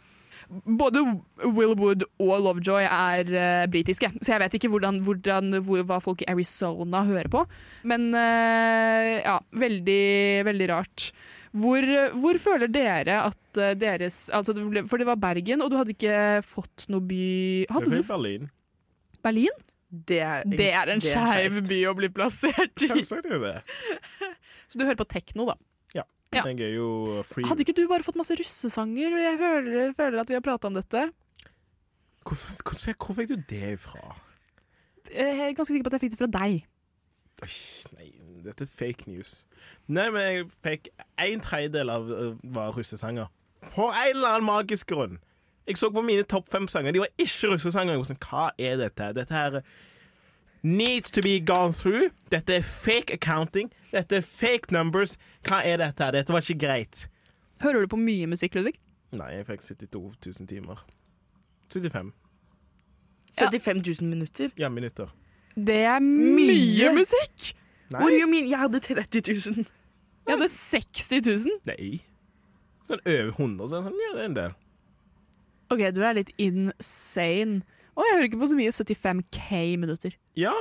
Speaker 2: både Will Wood og Lovejoy er eh, britiske, så jeg vet ikke hvordan, hvordan, hvor, hva folk i Arizona hører på. Men eh, ja, veldig, veldig rart. Hvor, hvor føler dere at eh, deres altså det ble, For det var Bergen, og du hadde ikke fått noe by Hadde
Speaker 3: Det er
Speaker 2: du
Speaker 3: Berlin.
Speaker 2: [laughs] Berlin?
Speaker 4: Det er,
Speaker 2: Det er en skeiv
Speaker 4: skjevt.
Speaker 2: by å bli plassert i.
Speaker 3: Selvsagt er det det.
Speaker 2: Så du hører på tekno, da. Ja.
Speaker 3: Jeg er jo free
Speaker 2: Hadde ikke du bare fått masse russesanger? Jeg føler, føler at vi har prata om dette.
Speaker 3: Hvor, hvor, hvor fikk du det ifra?
Speaker 2: Jeg er ganske sikker på at jeg fikk det fra deg.
Speaker 3: Æsj, Nei, dette er fake news. Nei, men jeg fikk en tredjedel av eh, var russesanger. På en eller annen magisk grunn. Jeg så på mine topp fem sanger. De var ikke russesanger. Jeg var sånn, Hva er dette? Dette her eh, needs to be gone through. Dette er fake accounting. Dette er fake numbers. Hva er dette? Dette var ikke greit.
Speaker 2: Hører du på mye musikk, Ludvig?
Speaker 3: Nei, jeg fikk 72 000 timer. 75.
Speaker 4: 75 000 minutter.
Speaker 3: Ja, minutter.
Speaker 2: Det er mye
Speaker 4: Mye.
Speaker 2: musikk!
Speaker 3: Nei.
Speaker 4: What do you mean? Jeg hadde 30 000.
Speaker 2: Jeg hadde 60 000.
Speaker 3: Nei. Sånn over 100. Sånn, ja, det er en del.
Speaker 2: OK, du er litt insane. Å, jeg hører ikke på så mye 75K minutter.
Speaker 3: Ja.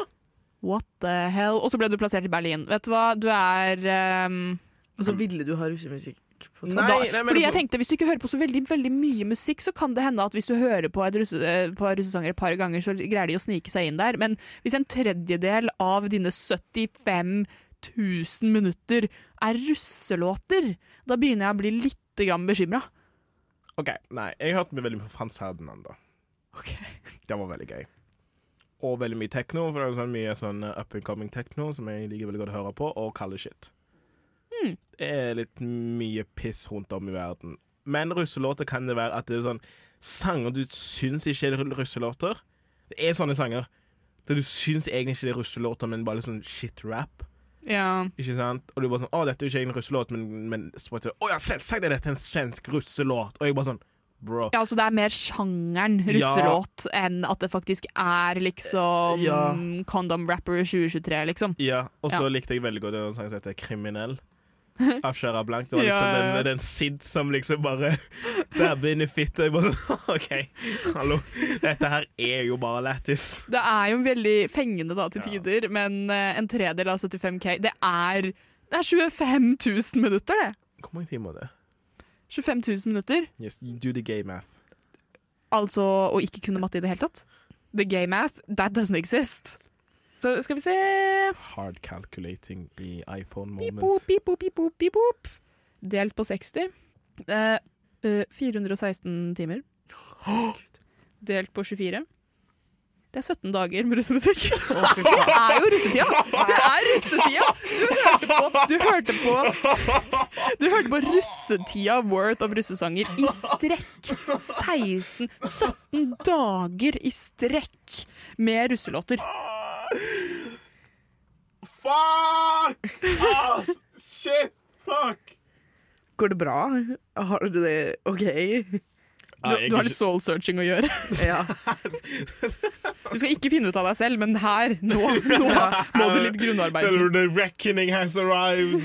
Speaker 2: What the hell? Og så ble du plassert i Berlin. Vet du hva, du er ehm,
Speaker 4: Og så ville du ha russemusikk på topp.
Speaker 3: Nei,
Speaker 2: da,
Speaker 3: nei, men
Speaker 2: Fordi jeg
Speaker 3: det-
Speaker 2: tenkte, hvis du ikke hører på så veldig veldig mye musikk, så kan det hende at hvis du hører på, et russe, eh, på russesanger et par ganger, så greier de å snike seg inn der. Men hvis en tredjedel av dine 75 000 minutter er russelåter, da begynner jeg å bli litt grann bekymra.
Speaker 3: OK. Nei, jeg hørte meg veldig mye på Frans Ferdinand, da. Det var veldig gøy. Og veldig mye tekno, for det er sånn mye sånn up and coming tekno som jeg liker veldig godt å høre på, og kalle shit. Det er litt mye piss rundt om i verden. Men russelåter kan det være at det er sånn sanger du syns ikke er russelåter. Det er sånne sanger. Så du syns egentlig ikke det er russelåter, men bare litt sånn shit-rap.
Speaker 2: Ja.
Speaker 3: Ikke sant? Og du bare sånn 'Å, dette er jo ikke en russelåt', men, men så bare sånn, 'Å ja, selvsagt er dette en svensk russelåt'. Og jeg bare sånn Bro.
Speaker 2: altså Det er mer sjangeren russelåt enn at det faktisk er liksom
Speaker 3: Ja.
Speaker 2: Condom Rapper 2023, liksom.
Speaker 3: Ja, og så
Speaker 2: Ja.
Speaker 3: likte jeg veldig godt en sang som heter 'Kriminell'.
Speaker 2: [laughs]
Speaker 3: Av Shara Blank. Det var
Speaker 2: Ja,
Speaker 3: liksom
Speaker 2: ja, ja.
Speaker 3: den, den Sid som liksom bare [laughs] Der benefitter jeg bare sånn [laughs] OK, hallo. Dette her er jo bare lættis.
Speaker 2: Det er jo veldig fengende da til
Speaker 3: Ja.
Speaker 2: tider, men eh, en tredel av 75K, det er, det er 25 000 minutter, det.
Speaker 3: Hvor mange timer er det?
Speaker 2: 25 000 minutter.
Speaker 3: Yes, you do the gay math.
Speaker 2: Altså å ikke kunne matte i det hele tatt. The gay math, that doesn't exist. Så skal vi se
Speaker 3: Hard calculating i iPhone
Speaker 2: Pip,
Speaker 3: moment.
Speaker 2: pop, pip, pop, pip, pop, pip, pop. Delt på 60. Eh, eh, 416 timer. Delt på 24. Det er 17 dager med russemusikk. [laughs] Det er jo russetida! Det er russetida! Du hørte på Du hørte på, du hørte på russetida worth of russesanger i strekk. 16 17 dager i strekk med russelåter.
Speaker 3: Fuck! Ass! Shit! Fuck!
Speaker 4: Går det bra? Har du det OK?
Speaker 2: Du, du har litt soul searching å gjøre.
Speaker 4: Ja.
Speaker 2: Du skal ikke finne ut av deg selv, men her, nå, nå må du litt grunnarbeid til.
Speaker 3: The reckoning has [laughs] arrived.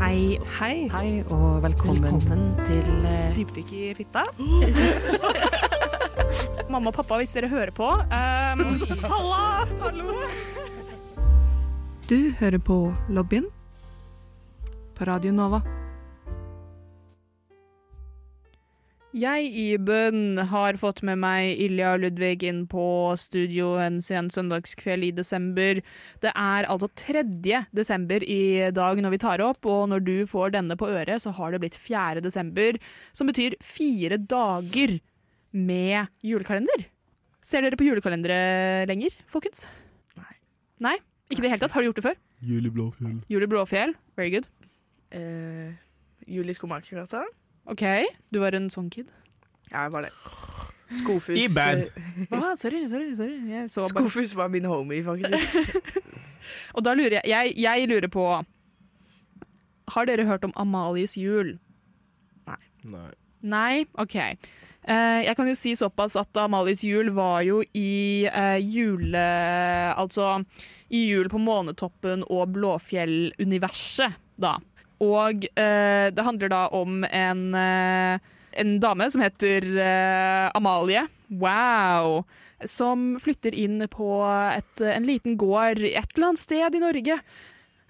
Speaker 1: Hei. Hei.
Speaker 6: Hei og velkommen.
Speaker 1: til eh,
Speaker 2: Dypdykk i fitta. Mamma og pappa, hvis dere hører på. ehm, halla! Hallo!
Speaker 7: Du hører på Lobbyen på Radio Nova.
Speaker 2: Jeg, Iben, har fått med meg Ilja og Ludvig inn på studio en sen søndagskveld i desember. Det er altså 3. desember i dag når vi tar opp, og når du får denne på øret, så har det blitt 4. desember, som betyr fire dager med julekalender. Ser dere på julekalendere lenger, folkens?
Speaker 4: Nei.
Speaker 2: Nei? Ikke i det hele tatt? Har du gjort det før?
Speaker 3: Juli Blåfjell.
Speaker 2: Jul i Blåfjell? Very good.
Speaker 4: Eh, Julie Skomakergata?
Speaker 2: OK, du var en sånn [laughs] kid.
Speaker 4: Ja, jeg var det. Skofus eh,
Speaker 3: I band.
Speaker 2: Ah, sorry, sorry. sorry. Jeg så bare
Speaker 4: Skofus var min homie, faktisk.
Speaker 2: Og da lurer jeg, jeg Jeg lurer på Har dere hørt om Amalies jul?
Speaker 3: Nei.
Speaker 2: Nei? OK. Eh, jeg kan jo si såpass at Amalies jul var jo i eh, jule... Altså i jul på Månetoppen og Blåfjell-universet, da. Og eh, det handler da om en, eh, en dame som heter eh, Amalie. Wow! Som flytter inn på et, en liten gård et eller annet sted i Norge.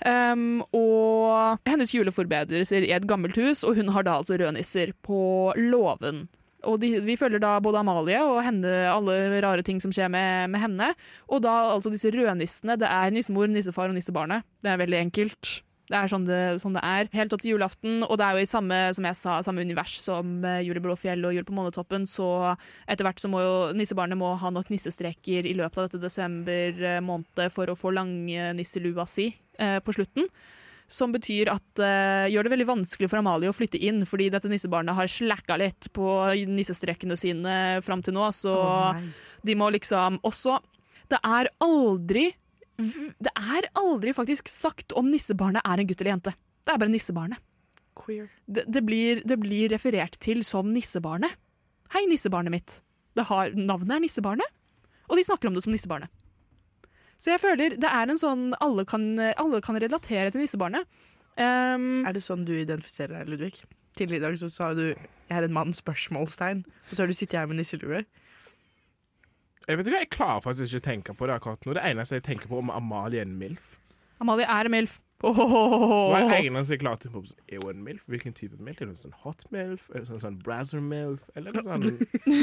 Speaker 2: Um, og hennes juleforberedelser i et gammelt hus, og hun har da altså rødnisser på låven. Og de, vi følger da både Amalie og henne, alle rare ting som skjer med, med henne. Og da altså disse rødnissene. Det er nissemor, nissefar og nissebarnet. Det er veldig enkelt. Det er sånn det, sånn det er. Helt opp til julaften, og det er jo i samme, som jeg sa, samme univers som eh, Jul i Blåfjell og Jul på månetoppen, så etter hvert så må jo nissebarnet må ha nok nissestreker i løpet av dette desember eh, måned for å få langnisselua si eh, på slutten. Som betyr at eh, gjør det veldig vanskelig for Amalie å flytte inn, fordi dette nissebarnet har slacka litt på nissestrekene sine fram til nå, så de må liksom også Det er aldri Det er aldri faktisk sagt om nissebarnet er en gutt eller jente. Det er bare nissebarnet.
Speaker 4: Queer.
Speaker 2: Det, det, blir, det blir referert til som nissebarnet. Hei, nissebarnet mitt. Det har, navnet er nissebarnet, og de snakker om det som nissebarnet. Så jeg føler det er en sånn Alle kan, alle kan relatere til nissebarnet. Ehm,
Speaker 4: Er det sånn du identifiserer deg, Ludvig? Tidligere i dag så sa du 'jeg er en mann', spørsmålstegn. Og så har du sittet her med nisselue.
Speaker 3: Jeg vet ikke, jeg klarer faktisk ikke å tenke på det akkurat nå. Det eneste jeg tenker på om Amalie er en milf.
Speaker 2: Amalie er en milf.
Speaker 3: Hva er det
Speaker 2: Ohohoho.
Speaker 3: eneste jeg klarer til på? Er hun en milf? Hvilken type milf? Er hun sånn hot milf? Er hun sånn, sånn brazzer milf? Eller noe sånn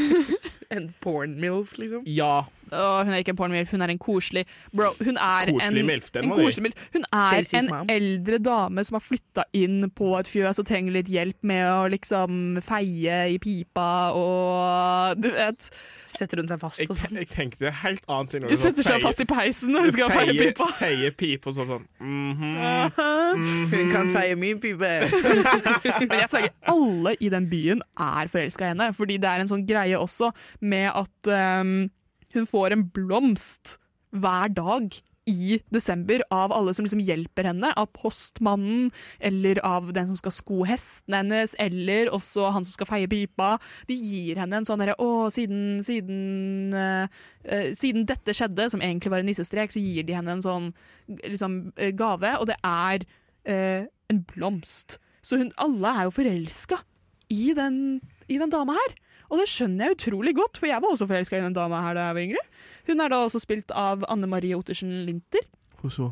Speaker 4: En porn milf, liksom.
Speaker 3: [laughs] Ja,
Speaker 2: Å, hun er ikke en pornomilf, hun er en koselig Bro, hun er
Speaker 3: koselig
Speaker 2: en
Speaker 3: milf. Den
Speaker 2: En
Speaker 3: må vi.
Speaker 2: koselig milf. Hun er
Speaker 4: Stacey's
Speaker 2: en
Speaker 4: mom.
Speaker 2: eldre dame som har flytta inn på et fjøs og trenger litt hjelp med å liksom feie i pipa og du vet
Speaker 4: Setter hun seg fast
Speaker 3: Jeg,
Speaker 4: og sånn.
Speaker 3: jeg tenkte helt annet ting. når
Speaker 2: Hun
Speaker 3: du sa
Speaker 2: setter seg
Speaker 3: feie-
Speaker 2: fast i peisen når hun skal feie pipa.
Speaker 3: Feie pipe og sånn. sånn. mhm.
Speaker 4: Hun kan feie min pipe. [laughs]
Speaker 2: Men [laughs] jeg sverger, alle i den byen er forelska i henne. Fordi det er en sånn greie også med at ehm, hun får en blomst hver dag i desember av alle som liksom hjelper henne. Av postmannen, eller av den som skal sko hestene hennes, eller også han som skal feie pipa. De gir henne en sånn derre Å, siden, siden, eh, eh, siden dette skjedde, som egentlig var en nissestrek, så gir de henne en sånn liksom, eh, gave, og det er eh, en blomst. Så hun, alle er jo forelska i den, i den dama her. Og det skjønner jeg utrolig godt, for jeg var også forelska i den dama her da jeg var yngre. Hun er da også spilt av Anne Marie Ottersen Linter.
Speaker 3: Få se.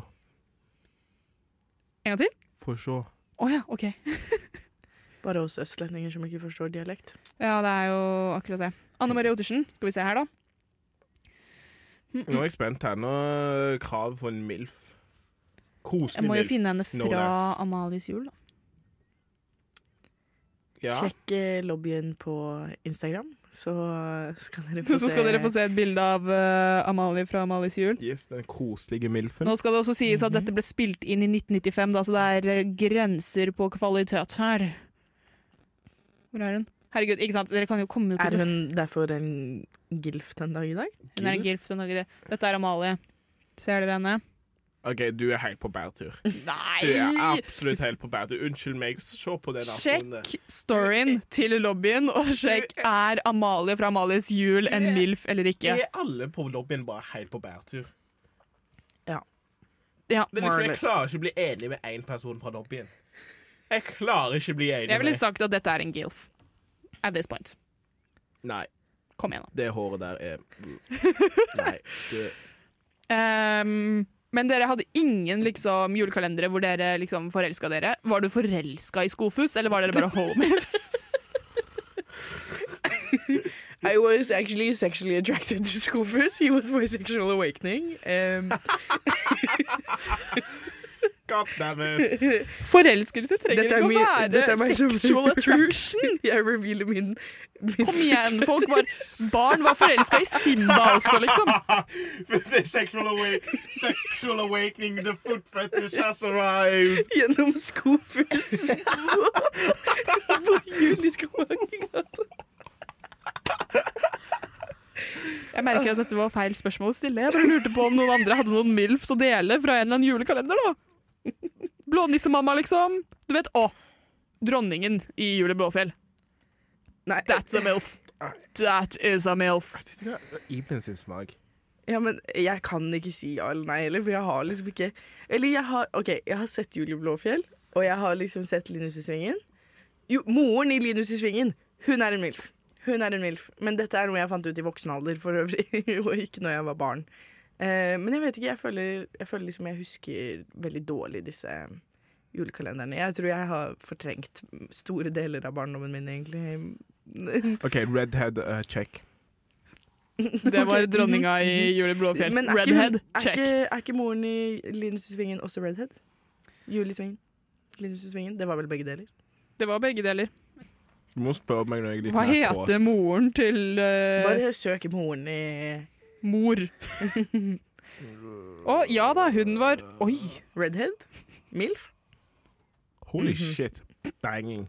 Speaker 2: En gang til.
Speaker 3: Få se.
Speaker 2: Å ja, OK.
Speaker 4: Bare oss østlendinger som ikke forstår dialekt.
Speaker 2: Ja, det er jo akkurat det. Anne Marie Ottersen, skal vi se her, da.
Speaker 3: Nå er jeg spent her. Nå er krav for en milf.
Speaker 2: Jeg
Speaker 3: Koselig
Speaker 2: må jo
Speaker 3: milf.
Speaker 2: finne henne
Speaker 3: no
Speaker 2: fra
Speaker 3: less.
Speaker 2: Amalies jul, da.
Speaker 3: Ja.
Speaker 4: Sjekk eh, lobbyen på Instagram, så skal [laughs] dere få
Speaker 2: [laughs] Så skal dere få se et bilde av eh, Amalie fra Amalies jul.
Speaker 3: Yes, den koselige milfen.
Speaker 2: Nå skal det også sies at
Speaker 3: Mhm.
Speaker 2: dette ble spilt inn i 1995, da, så det er eh, grenser på kvalitet her. Hvor er hun? Herregud, ikke sant? Dere kan jo komme jo
Speaker 4: Er
Speaker 2: til
Speaker 4: hun derfor en gilf den dag i dag?
Speaker 2: Hun er en gilf. Den dag i dag. Dette er Amalie. Ser dere henne?
Speaker 3: OK, du er helt på bærtur. Du er
Speaker 2: Nei!
Speaker 3: absolutt helt på bærtur. Unnskyld meg, se på den afroen der.
Speaker 2: Sjekk storyen til lobbyen, og sjekk er Amalie fra Amalies jul en MILF eller ikke.
Speaker 3: Er alle på lobbyen bare helt på bærtur?
Speaker 2: Ja,
Speaker 3: Det er
Speaker 2: more
Speaker 3: liksom,
Speaker 2: or
Speaker 3: jeg
Speaker 2: less.
Speaker 3: klarer ikke å bli enig med én person fra lobbyen. Jeg klarer ikke å bli enig
Speaker 2: Jeg ville
Speaker 3: med
Speaker 2: sagt at dette er en gilf. At this point.
Speaker 3: Nei,
Speaker 2: Kom igjen, da.
Speaker 3: det håret der
Speaker 2: [laughs]
Speaker 3: er Nei. Det...
Speaker 2: Ehm, men dere hadde ingen liksom, julekalendere hvor dere liksom, forelska dere. Var du forelska i Skofus, eller var dere bare homies?
Speaker 4: I was actually sexually attracted to Scoopers. He was my sexual awakening. Um,
Speaker 3: God damn it.
Speaker 2: [laughs]
Speaker 3: [laughs]
Speaker 2: Forelskelse trenger
Speaker 4: Dette er
Speaker 2: ikke å
Speaker 4: min- dette
Speaker 2: være
Speaker 4: er meg som-
Speaker 2: sexual attraction.
Speaker 4: [laughs] jeg revealer min,
Speaker 2: [laughs]
Speaker 4: min
Speaker 2: Kom igjen, folk var Barn var forelska i Simba også, liksom.
Speaker 3: The sexual, awa- sexual awakening, the foot fetish has arrived.
Speaker 4: gjennom Scoopers på Juliskomakergata.
Speaker 2: Jeg merker at dette var feil spørsmål å stille. Jeg bare lurte på om noen andre hadde noen MILFs å dele fra en eller annen julekalender, da. Blånissemamma, liksom. Du vet, å. Dronningen i Jul i Blåfjell.
Speaker 4: Nei,
Speaker 2: That's a MILF. That is a milf.
Speaker 3: Iben sin smak.
Speaker 4: Ja, men jeg kan ikke si ja eller nei heller, for jeg har liksom ikke Eller jeg har OK, jeg har sett Julie Blåfjell, og jeg har liksom sett Linus i Svingen. Jo, moren i Linus i Svingen, hun er en MILF. Hun er en MILF. Men dette er noe jeg fant ut i voksen alder, for øvrig, [laughs] og ikke når jeg var barn. Eh, men jeg vet ikke, jeg føler, jeg føler liksom jeg husker veldig dårlig disse eh, julekalenderne. Jeg tror jeg har fortrengt store deler av barndommen min, egentlig.
Speaker 3: OK, redhead uh, check.
Speaker 2: Det var dronninga i Julie Blåfjell.
Speaker 4: mhm. Men er,
Speaker 2: Redhead,
Speaker 4: ikke, hun- er,
Speaker 2: check.
Speaker 4: ikke, er ikke moren i Linus i Svingen også redhead? Julie i Svingen. Linus i Svingen. Det var vel begge deler.
Speaker 2: Det var begge deler.
Speaker 3: Du må spørre meg når jeg er litt
Speaker 2: Hva
Speaker 3: mer kåt.
Speaker 2: heter moren til eh,
Speaker 4: Bare søk moren i
Speaker 2: mor? Å ja da, hun var Oi!
Speaker 4: redhead. Milf.
Speaker 3: Holy
Speaker 4: Mhm.
Speaker 3: shit. Banging.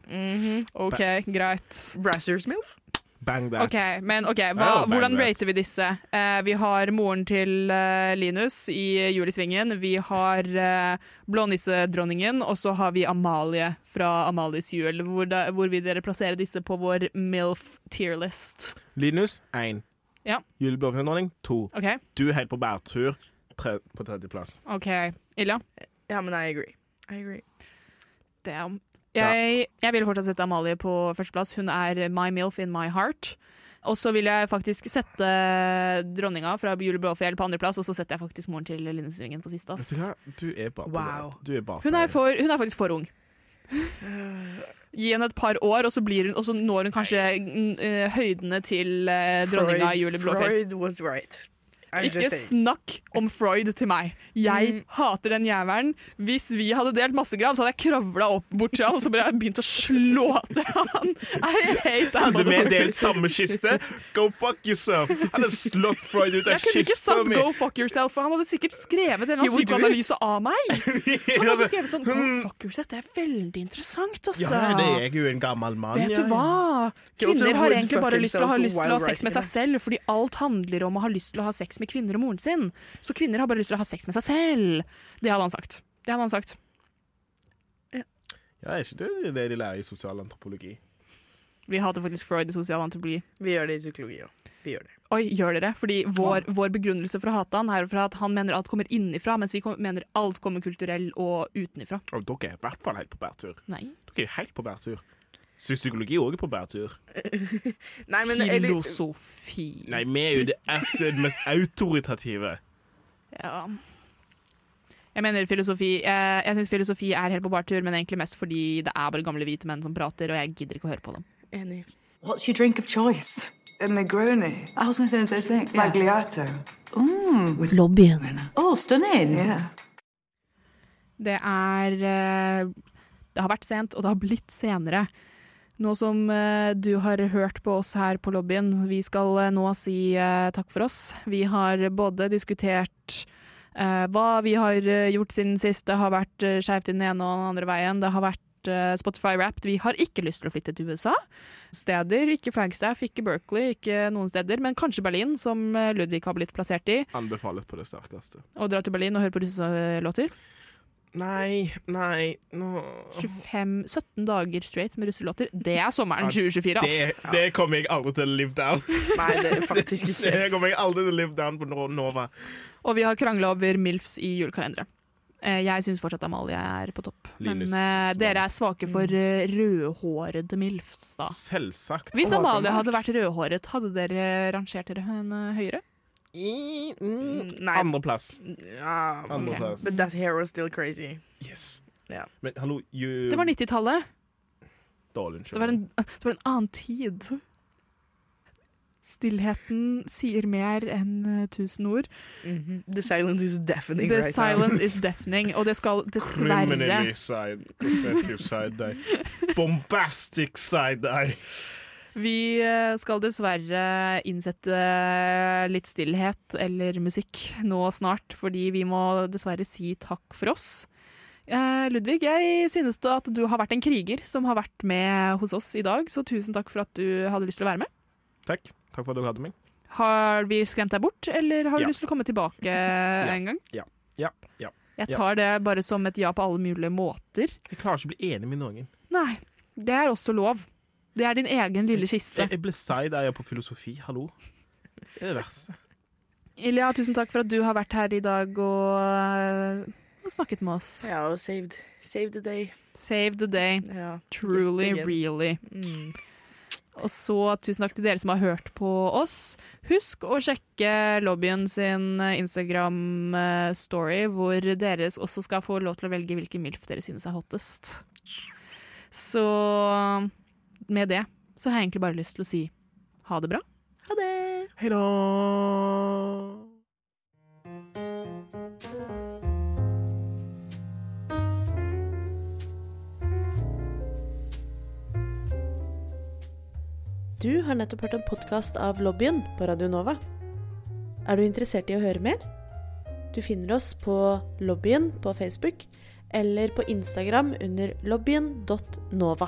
Speaker 2: OK, greit.
Speaker 4: Brassers Milf.
Speaker 3: Bang that.
Speaker 2: Ok, men ok, hva,
Speaker 3: Ja, bang
Speaker 2: Hvordan
Speaker 3: that.
Speaker 2: rater vi disse? Eh, vi har moren til eh, Linus i Jul i Svingen. Vi har eh, Blånissedronningen, og så har vi Amalie fra Amalies jul. Hvor, da, hvor vil dere plassere disse på vår MILF-tearlist?
Speaker 3: Linus, én.
Speaker 2: Ja.
Speaker 3: Juleblåfjellordning, to.
Speaker 2: OK,
Speaker 3: Du er helt på bærtur. Tre, på tredjeplass.
Speaker 2: ok, Ilja?
Speaker 4: Ja, men I agree. I agree.
Speaker 2: Damn. Jeg, jeg vil fortsatt sette Amalie på førsteplass. Hun er my MILF in my heart. Og så vil jeg faktisk sette dronninga fra Jule Blåfjell på andreplass, og så setter jeg faktisk moren til Linus i Svingen på siste.
Speaker 3: Vet
Speaker 2: ass.
Speaker 3: du hva? Du er bare på
Speaker 4: Wow.
Speaker 3: det. Du er bare
Speaker 2: Hun
Speaker 3: på
Speaker 2: er,
Speaker 3: det.
Speaker 2: for, hun er faktisk for ung.
Speaker 4: Eh,
Speaker 2: Gi henne et par år, og så, blir hun, og så når hun kanskje mm, eh, høydene til eh, dronninga i Julie Blåfjell.
Speaker 4: Uh, Freud was right. I'm
Speaker 2: Ikke
Speaker 4: just saying.
Speaker 2: snakk om Freud til meg. Jeg hater den jævelen. Hvis vi hadde delt massegrav, så hadde jeg kravla opp bort til han og så bare begynt å slå til han. I hate that
Speaker 3: Hadde vi
Speaker 2: motherfucker.
Speaker 3: delt samme kiste? Go fuck yourself! Hadde slått Freud ut av
Speaker 2: Jeg kunne ikke
Speaker 3: kista
Speaker 2: sagt
Speaker 3: mi! [laughs]
Speaker 2: 'go fuck yourself', for han hadde sikkert skrevet en eller
Speaker 3: He
Speaker 2: annen
Speaker 3: would do
Speaker 2: psykoanalyse av meg. Han hadde
Speaker 3: Altså,
Speaker 2: skrevet sånn 'go fuck yourself', det er veldig interessant, altså.
Speaker 3: Ja, det er jeg jo en gammel mann.
Speaker 2: Vet
Speaker 3: ja,
Speaker 2: du hva?
Speaker 4: Go to
Speaker 2: Kvinner har
Speaker 4: wood
Speaker 2: egentlig bare
Speaker 4: fucking
Speaker 2: lyst til å ha,
Speaker 4: self
Speaker 2: lyst til å ha
Speaker 4: while
Speaker 2: sex med seg selv, fordi alt handler om å ha lyst til å ha sex med kvinner og moren sin. Så kvinner har bare lyst til å ha sex med seg selv. Det hadde han sagt. Det hadde han sagt.
Speaker 3: Ja, er ikke det det de lærer i sosialantropologi?
Speaker 2: Vi hater faktisk Freud i sosial antropologi.
Speaker 4: Vi gjør det i psykologi òg. Vi gjør det. [laughs]
Speaker 2: Oi, gjør dere? Fordi vår, vår begrunnelse for å hate han er fra at han mener alt kommer innenfra, mens vi kom, mener alt kommer kulturell og utenfra.
Speaker 3: Og dere er i hvert fall helt på bærtur.
Speaker 2: Nei.
Speaker 3: Dere er helt på bærtur. Så psykologi òg er på bærtur.
Speaker 4: Nei, men eller,
Speaker 2: Filosofi.
Speaker 3: Nei, vi er jo det, er det mest autoritative.
Speaker 2: Ja. Jeg mener filosofi eh, Jeg, jeg syns filosofi er helt på bartur, men egentlig mest fordi det er bare gamle hvite menn som prater, og jeg gidder ikke å høre på dem.
Speaker 4: Enig.
Speaker 8: What's your drink of choice?
Speaker 9: A Negroni.
Speaker 8: I was going to say the same thing. yeah.
Speaker 9: Magliato.
Speaker 1: Lobbyen.
Speaker 8: Oh, stunning.
Speaker 9: Yeah.
Speaker 2: Det er eh, Det har vært sent, og det har blitt senere. Nå som eh, du har hørt på oss her på lobbyen, vi skal eh, nå si eh, takk for oss. Vi har både diskutert eh, hva vi har eh, gjort siden sist, det har vært uh, skeivt i den ene og den andre veien, det har vært eh, Spotify Wrapped. Vi har ikke lyst til å flytte til USA. Steder, ikke Flagstaff, ikke Berkeley, ikke noen steder, men kanskje Berlin, som eh, Ludvig har blitt plassert i.
Speaker 3: Anbefales på det sterkeste.
Speaker 2: Og dra til Berlin og høre på russelåter.
Speaker 3: Nei, nei, nå
Speaker 2: 25, 17 dager straight med russelåter. Det er sommeren 2024,
Speaker 3: det,
Speaker 2: ass!
Speaker 3: det kommer jeg aldri til å live down. [laughs]
Speaker 4: Nei, det er faktisk ikke. [laughs]
Speaker 3: Det kommer jeg aldri til å live down på Nor- Nova.
Speaker 2: Og vi har krangla over MILFs i julekalendere. Eh, Jeg syns fortsatt Amalie er på topp.
Speaker 3: Linus,
Speaker 2: Men eh,
Speaker 3: Svan.
Speaker 2: dere er svake for eh, rødhårede MILFs, da.
Speaker 3: Selvsagt.
Speaker 2: Hvis Amalie
Speaker 3: Åpenbart.
Speaker 2: hadde vært rødhåret, hadde dere rangert dere henne høyere?
Speaker 3: I- mm,
Speaker 4: Nei.
Speaker 3: Andreplass.
Speaker 4: Ja,
Speaker 3: Andreplass.
Speaker 4: but that hair was still crazy.
Speaker 3: Yes.
Speaker 4: Ja.
Speaker 3: Men hallo, you
Speaker 2: Det var 90-tallet.
Speaker 3: Dårlig, unnskyld.
Speaker 2: Det, var en- [laughs] det var en annen tid. Stillheten sier mer enn eh, tusen ord.
Speaker 4: The silence is deafening
Speaker 2: The
Speaker 4: right
Speaker 2: silence is deafening, og det skal dessverre
Speaker 3: Criminally side, offensive side eye. Bombastic side eye.
Speaker 2: Vi eh, skal dessverre innsette eh, litt stillhet eller musikk nå snart, fordi vi må dessverre si takk for oss. Eh, Ludvig, jeg synes da at du har vært en kriger som har vært med hos oss i dag, så tusen takk for at du hadde lyst til å være med.
Speaker 3: Takk. Takk for at dere hadde meg.
Speaker 2: Har vi skremt deg bort, eller har du
Speaker 3: Ja.
Speaker 2: lyst til å komme tilbake en gang?
Speaker 3: [laughs] ja, ja, ja,
Speaker 2: Jeg
Speaker 3: ja.
Speaker 2: tar det bare som et ja på alle mulige måter.
Speaker 3: Jeg klarer ikke å bli enig med noen.
Speaker 2: Nei, det er også lov. Det er din egen lille kiste.
Speaker 3: Jeg, jeg ble side-eye på filosofi, hallo. Det er det verste.
Speaker 2: Ilja, tusen takk for at du har vært her i dag og, eh, og snakket med oss.
Speaker 4: Ja, og saved, saved the day.
Speaker 2: Save the day.
Speaker 4: Ja.
Speaker 2: Truly,
Speaker 4: Gjett igjen.
Speaker 2: really.
Speaker 4: Mm.
Speaker 2: Og så tusen takk til dere som har hørt på oss. Husk å sjekke lobbyen sin eh, Instagram-story, hvor dere også skal få lov til å velge hvilken MILF dere synes er hottest. Så med det så har jeg egentlig bare lyst til å si ha det bra.
Speaker 4: Ha det!
Speaker 3: Hei da!
Speaker 9: Du har nettopp hørt en podkast av Lobbyen på Radio Nova. Er du interessert i å høre mer? Du finner oss på Lobbyen på Facebook eller på Instagram under lobbyen.nova.